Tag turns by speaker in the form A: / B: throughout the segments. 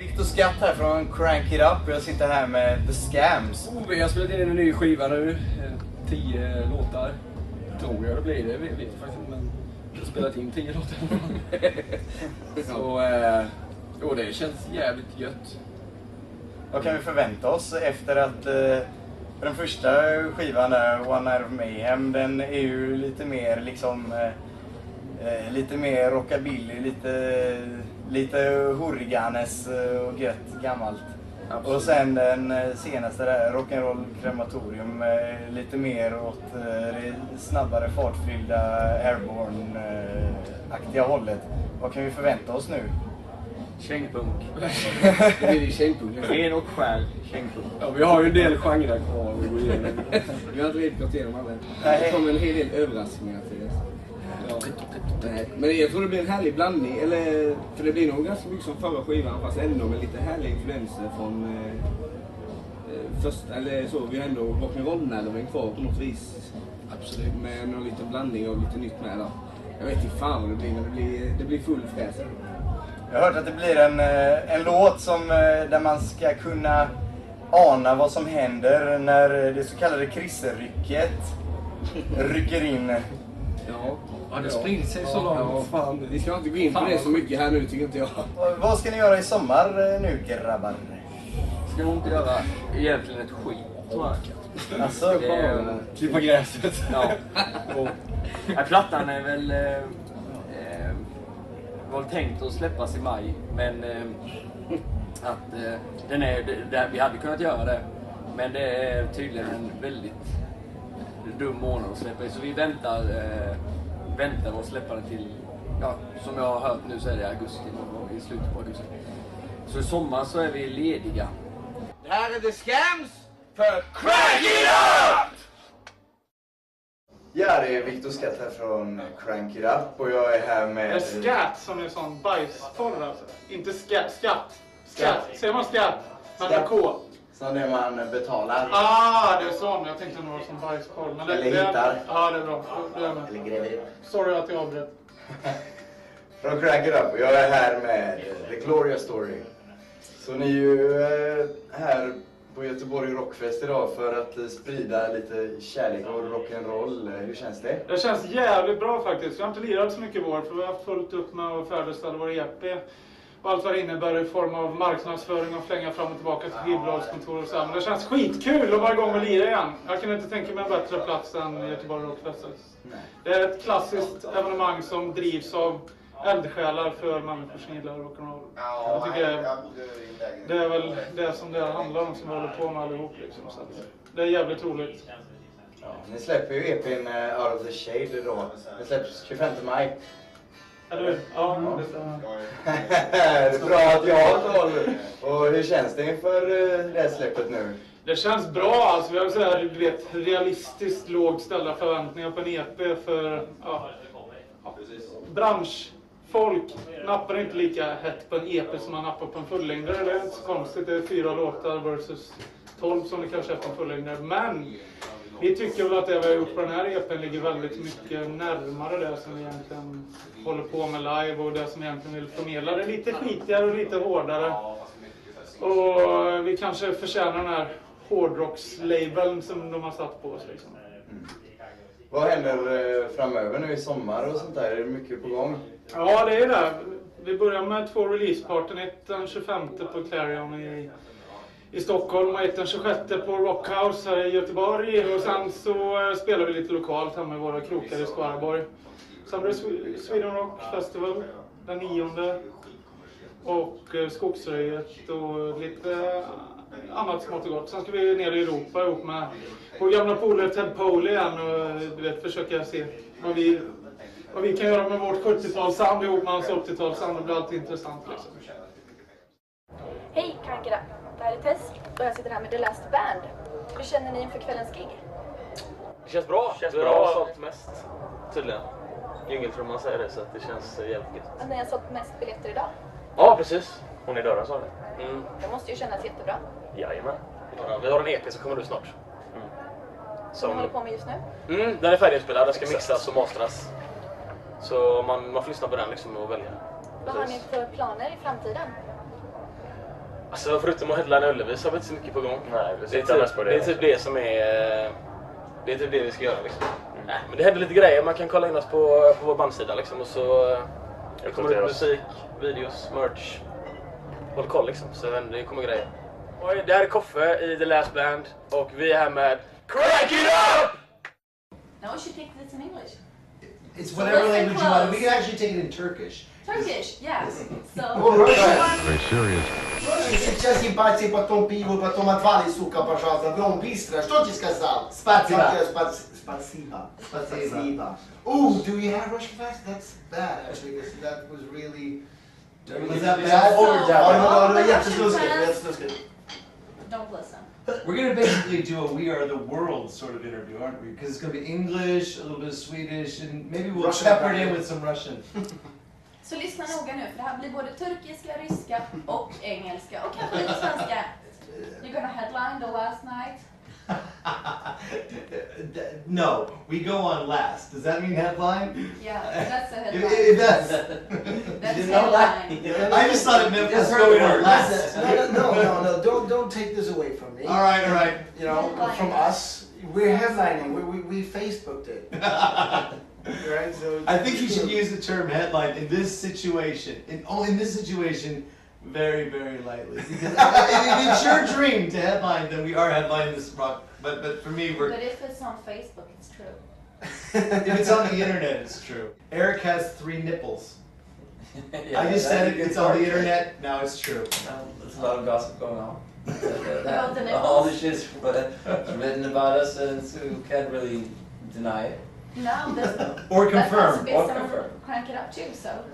A: Viktor Skatt här från Crank It Up och jag sitter här med The Scams.
B: Oh, jag har spelat in en ny skiva nu. Eh, Tio låtar. Tror jag det blir. Det vet jag faktiskt inte. Men jag har spelat in tio låtar. Så, eh, jo, det känns jävligt gött.
A: Vad kan vi förvänta oss efter att eh, den första skivan där, One Night of Mayhem, den är ju lite mer liksom eh, eh, lite mer rockabilly, lite, lite hurriganes eh, och gött gammalt.
B: Absolut.
A: Och sen den eh, senaste där, Rock'n'Roll Krematorium, eh, lite mer åt eh, det snabbare fartfyllda airborne-aktiga hållet. Vad kan vi förvänta oss nu?
C: Kängpunk. Det blir ju kängpunk. Ren och skär kängpunk.
B: Ja, vi har ju en del genrer kvar att gå igenom.
C: Vi har inte riktigt gått igenom alla än.
A: Nej.
C: Det kommer en hel del överraskningar till oss. Ja. Nej, Men jag tror det blir en härlig blandning. Eller, för det blir nog ganska mycket som förra skivan fast ändå med lite härliga influenser från eh, eh, första, eller så. Vi har ändå rock'n'roll-nerven kvar på något vis. Absolut. Med någon liten blandning av lite nytt med. Då. Jag vet inte fan vad det blir men det blir, det blir full fräs.
A: Jag har hört att det blir en, eh, en låt som, eh, där man ska kunna ana vad som händer när eh, det så kallade krisserycket rycker in.
C: Ja.
D: Ja, det sprider sig så
B: Ja,
D: långt.
B: fan.
C: Vi ska inte gå in på
D: Fan,
C: det
D: vad
C: så mycket här nu tycker inte jag.
A: Och Vad ska ni göra i sommar eh, nu grabbar?
D: Ska nog inte göra egentligen ett skit, tror jag.
A: Alltså,
D: Det är-
B: Klippa gräset.
D: Ja. Och, nej, plattan är väl... Eh, eh, var tänkt att släppas i maj, men eh, att eh, den är, det, det, vi hade kunnat göra det. Men det är tydligen en väldigt dum månad att släppa i, så vi väntar, eh, väntar och släppa den till, ja, som jag har hört nu så är det i augusti, någon gång i slutet på augusti. Så i sommar så är vi lediga.
C: Det här är The Scams för
A: Ja, det är Viktor Skatt här från Crank It Up och jag är här
E: Det är
A: med...
E: skatt som är sån bajstorr alltså. Inte skatt, skatt. Skatt. Säger man skatt? Man har
A: Skatt.
E: K.
A: Som det man betalar.
E: Ah, det är sån. Jag tänkte nog som bajskorv. Men det,
A: Eller
E: det,
A: hittar.
E: Ja, det är bra. Då- då är jag med.
A: Eller grejer.
E: Sorry att jag avbröt.
A: Från Crank It Up och jag är här med The Gloria Story. Så ni är ju eh, här på Göteborg Rockfest idag för att eh, sprida lite kärlek och rock'n'roll. Eh, Hur känns det?
E: Det känns jävligt bra faktiskt. Vi har inte lirat så mycket i vår för vi har haft fullt upp med att färdigställa vår EP. Och allt vad det innebär i form av marknadsföring och flänga fram och tillbaka till skivbolagskontor och så. här. Men det känns skitkul att vara igång och lira igen. Jag kan inte tänka mig en bättre plats än Göteborg Rockfest. Det är ett klassiskt evenemang som drivs av eldsjälar för människor som gillar rock'n'roll. Jag tycker det är- det är väl det som det här handlar om som vi håller på med allihop liksom. Så att det är jävligt roligt.
A: Ni släpper ju EPn eh, Out of the Shade då. Den släpps 25 maj.
E: Eller hur? Ja, det stämmer.
A: det är bra att jag har koll. Och hur känns det inför eh, det här släppet nu?
E: Det känns bra alltså. Vi har så här, du vet, realistiskt lågt ställda förväntningar på en EP för ja, ja, branschfolk nappar inte lika hett på en EP som man nappar på en fullängdare. Det är inte så konstigt. Det är fyra låtar versus 12 som det kanske är på en fullängdare. Men vi tycker väl att det vi har gjort på den här EPn ligger väldigt mycket närmare det som vi egentligen håller på med live och det som vi egentligen vill förmedla. Det är lite skitigare och lite hårdare. Och vi kanske förtjänar den här hårdrockslabeln som de har satt på oss. Liksom.
A: Vad händer eh, framöver nu i sommar och sånt där? Är det mycket på gång?
E: Ja, det är det. Vi börjar med två releaseparten. Ett den 25 på Clarion i, i Stockholm och ett den 26 på Rockhouse här i Göteborg. Och sen så eh, spelar vi lite lokalt hemma i våra krokar i Skaraborg. Sen blir det Swe- Sweden Rock Festival den 9. Och eh, Skogsröjet och lite eh, annat smått och gott. Sen ska vi ner i Europa ihop med vår gamla polare Ted Poley igen och eh, du vet, försöka se vad vi, vad vi kan göra med vårt 70-talssound ihop med hans 80-talssound. Det blir alltid intressant liksom.
F: Hej Krankera! Det här är Tess och jag sitter här med The Last Band. Hur känner ni inför kvällens gig?
G: Det känns bra. Känns det bra. har sålt mest, tydligen. Djungeltrumman säger det, så att det känns eh, jävligt gött.
F: Att ni har sålt mest biljetter idag?
G: Ja, precis. Hon i dörren sa det. Mm.
F: Det måste ju kännas jättebra.
G: Jajamän. Mm. Vi har en EP som kommer ut snart.
F: Som ni håller på med just nu?
G: Mm, den är färdiginspelad, den ska mixas och masteras. Så man, man får lyssna på den liksom och välja.
F: Vad har ni för planer i framtiden?
G: Alltså förutom att headlina Ullevi så har vi inte så mycket på gång.
D: Nej, vi
G: det, är
D: sitter annars
G: typ,
D: på
G: det är
D: det. liksom.
G: typ det som är... eh, Det är typ det vi ska göra liksom.
D: Mm.
G: Nej, men det händer lite grejer. Man kan kolla in oss på, på vår bandsida liksom och så... eh, Det kommer
D: Uppdatera
G: ut
D: oss.
G: musik, videos, merch. Håll koll liksom så händer- det kommer grejer. Oj, det här är Koffe i The Last Band och vi är här med Crack It Up!
F: No, we should take this in English.
A: It's
F: So
A: whatever
F: let's
A: language you
F: get
A: want.
F: close.
A: We could actually take it in Turkish.
F: Turkish, yes. So.
A: Or Russian.
H: Very serious.
A: Сейчас ебать, и потом пиво, потом отвали, сука, пожалуйста. Дом быстро. Что ты сказал?
D: Спасибо.
A: Спасибо. Спасибо. Спасибо. Ooh, do we have Russian facts? That's bad, actually, because that was really... Was that bad?
F: So,
A: Oh, no, no,
F: all
A: no,
F: the
A: yeah, just
F: Russian
A: lose it.
F: fans,
A: Let's lose it.
F: Don't listen.
A: We're gonna basically do a "We Are the World" sort of interview, aren't we? Because it's gonna be English, a little bit of Swedish, and maybe we'll
I: Russian
A: pepper it
I: background.
A: in with some Russian.
F: Så lyssna noga nu, för det här blir både turkiska, ryska och engelska. Och kanske lite svenska. You're gonna headline the last night.
A: no, we go on last. Does that mean headline?
F: Yeah, that's
A: It,
F: a headline.
A: it does.
F: That's
A: You know that?
F: headline.
A: I just thought it meant let's
D: Just heard
A: go
D: the
A: in on
D: word.
A: last.
D: No, no, no, no, don't, don't take this away from me.
A: All right, all right.
D: You know, from us, we're headlining. We, we, we Facebooked it. Right? So
A: I think you should use the term headline in this situation. In only in this situation, very very lightly. Because if it's your dream to headline, then we are headlining this rock. But but for me, we're
F: But if it's on Facebook, it's true.
A: If it's on the internet, it's true. Eric has three nipples. I just said it, it's on the internet, now it's true.
D: There's a lot of gossip going on.
F: About the
D: All the shit's written about us, and so you can't really deny it.
F: No, that's,
A: Or
F: that must
A: confirm.
F: be
D: Or
F: some
D: confirm.
F: crank it up too, so.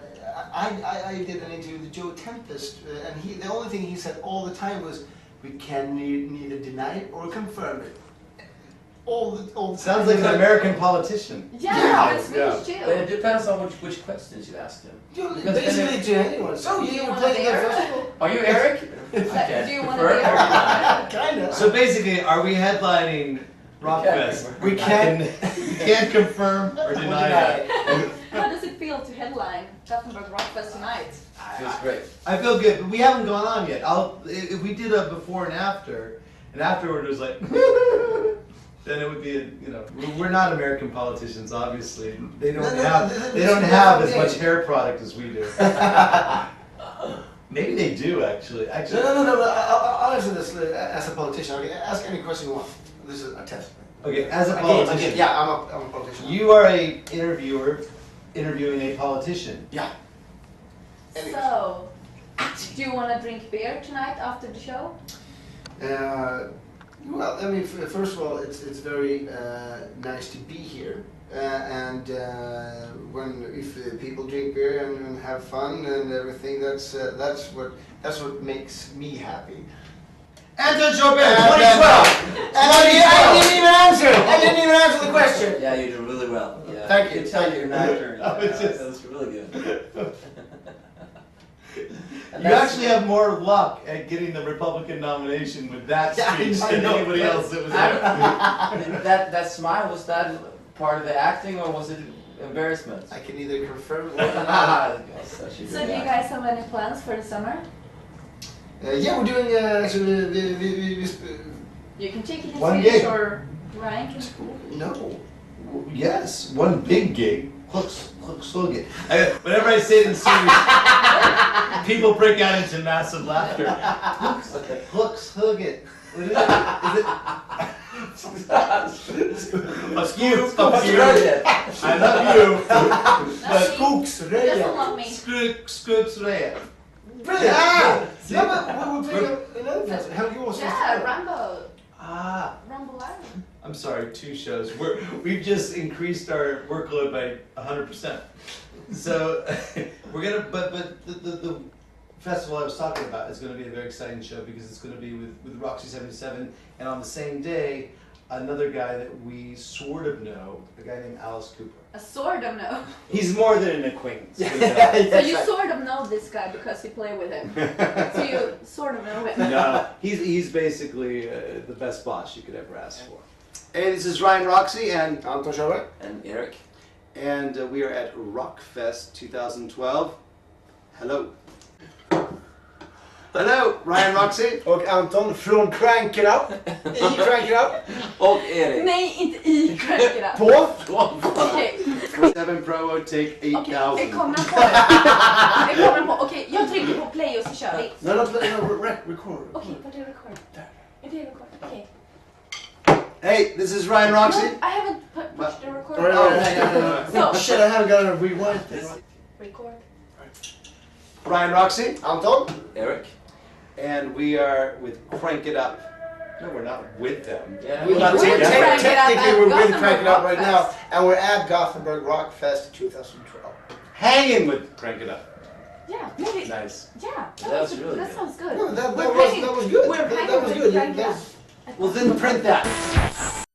A: I, I, I did an interview with Joe Tempest, uh, and he, the only thing he said all the time was, we can ne- neither deny it or confirm it. All the, all Sounds like an American politician.
F: Yeah, it's Swedish
D: But it
F: too.
D: depends on which, which questions you ask them.
A: Basically to anyone. So
F: Do
A: you
F: you
A: were
F: wanna
A: playing
F: dare?
A: a festival?
D: Are you Eric? I
F: But
D: can't
F: Do you want
D: confirm.
F: to
A: Kinda.
D: So
A: basically, are we headlining
D: Rockfest?
A: We can't, we can't confirm or deny it.
F: be How does it feel to headline Gothenburg Rockfest tonight?
D: Feels great.
A: I feel good, but we haven't gone on yet. I'll if if we did a before and after, and afterward it was like, then it would be a, you know we- we're not American politicians, obviously. They don't have they don't have as much hair product as we do. Maybe they do actually. Actually, no, no, no. uh, I'll, I'll answer this as a politician. Ask any question you want. This is a test. Okay, as a politician. yeah, I'm a, I'm a politician. You are a interviewer, interviewing a politician.
F: So, do you want to drink beer tonight after the show?
A: Uh, well, I mean, f- first of all, it's it's very uh, nice to be here, uh, and uh, when if uh, people drink beer and, and have fun and everything, that's uh, that's what that's what makes me happy. Enter Jobin, 2012. I didn't even answer. I didn't even answer the question.
D: Yeah, you did really well. Yeah.
A: Thank you,
D: You tell
A: thank
D: you're
A: you.
D: an actor.
A: I was
D: Yeah,
A: just-
D: That was really good.
A: You actually have more luck at getting the Republican nomination with that speech than anybody else that was
D: Did that that smile was that part of the acting or was it embarrassment?
A: I can either confirm
D: Ah, such a good
F: So, do you
D: actor.
F: guys have any plans for the summer?
A: Uh, yeah, we're doing uh, actually. Uh, we, we, we, we, sp-
F: You can take it in
A: One
F: Swedish
A: gig.
F: or Ryan can.
A: No. Yes, one big gig. Hooks, hooks, hook it. I, whenever I say it in Swedish, people break out into massive laughter. Hooks, hooks, hook it. What is it? Is it? Fuck you, fuck you. I love you. But hooks,
F: Doesn't love me.
A: Skruk, skruk, rea. Brilliant. Ah, yeah, but we will pick another festival. How you also?
F: Yeah, Rambo.
A: Ah.
F: Rambo Island.
A: I'm sorry, two shows. We're, we've just increased our workload by 100%. So we're going to, but, but the, the, the festival I was talking about is going to be a very exciting show because it's going to be with, with Roxy77. And on the same day, another guy that we sort of know, a guy named Alice Cooper.
F: A sort of know.
A: He's more than an acquaintance. we know.
F: So you sort of know this guy because you play with him. so you sort of know him.
A: no, he's, he's basically uh, the best boss you could ever ask for. Hey, this is Ryan Roxy and Anton Schauer.
D: And Eric.
A: and uh, we are at Rockfest 2012. Hello. Hello, Ryan Roxy.
I: Och Anton från Crank It Up. I Crank It Up.
J: Och Erik.
F: Nej, inte i Crank It Up.
I: På.
F: Okej,
A: 7 Pro take
F: okej, det
A: 8000.
F: kommer han på det. Det kommer han på. Okej, jag trycker på play och så kör vi.
I: No, no, no, rec- record.
F: Okej, var det record? Är det record? Okej.
A: Hey, this is Ryan Roxy.
F: No, I haven't pu- pushed the record.
I: Alright,
A: Oh,
I: alright,
A: hang on, hang on.
F: So,
I: Shit, I haven't got to rewind this.
F: record.
A: Ryan Roxy, Anton,
J: Erik.
K: And we are with Crank It Up. No, we're not with them.
I: We're not
F: We're
I: taking-
F: Crank It Up
I: technically
F: at
I: we're with
F: Gothenburg
I: Crank It Up
F: Rock
I: right now, and we're at Gothenburg Rock Fest 2012.
K: Hanging with Crank It Up.
F: Yeah, maybe.
K: Nice.
F: Yeah, that,
J: That
F: was,
J: was really
F: that
J: good.
F: sounds good.
I: No, that- that
F: We're
I: was-
F: hanging-
I: that was good.
F: We're
I: That- that
F: hanging
I: was
F: with
I: good.
F: Crank It
I: That
F: Up.
I: was-
K: Well, then print that.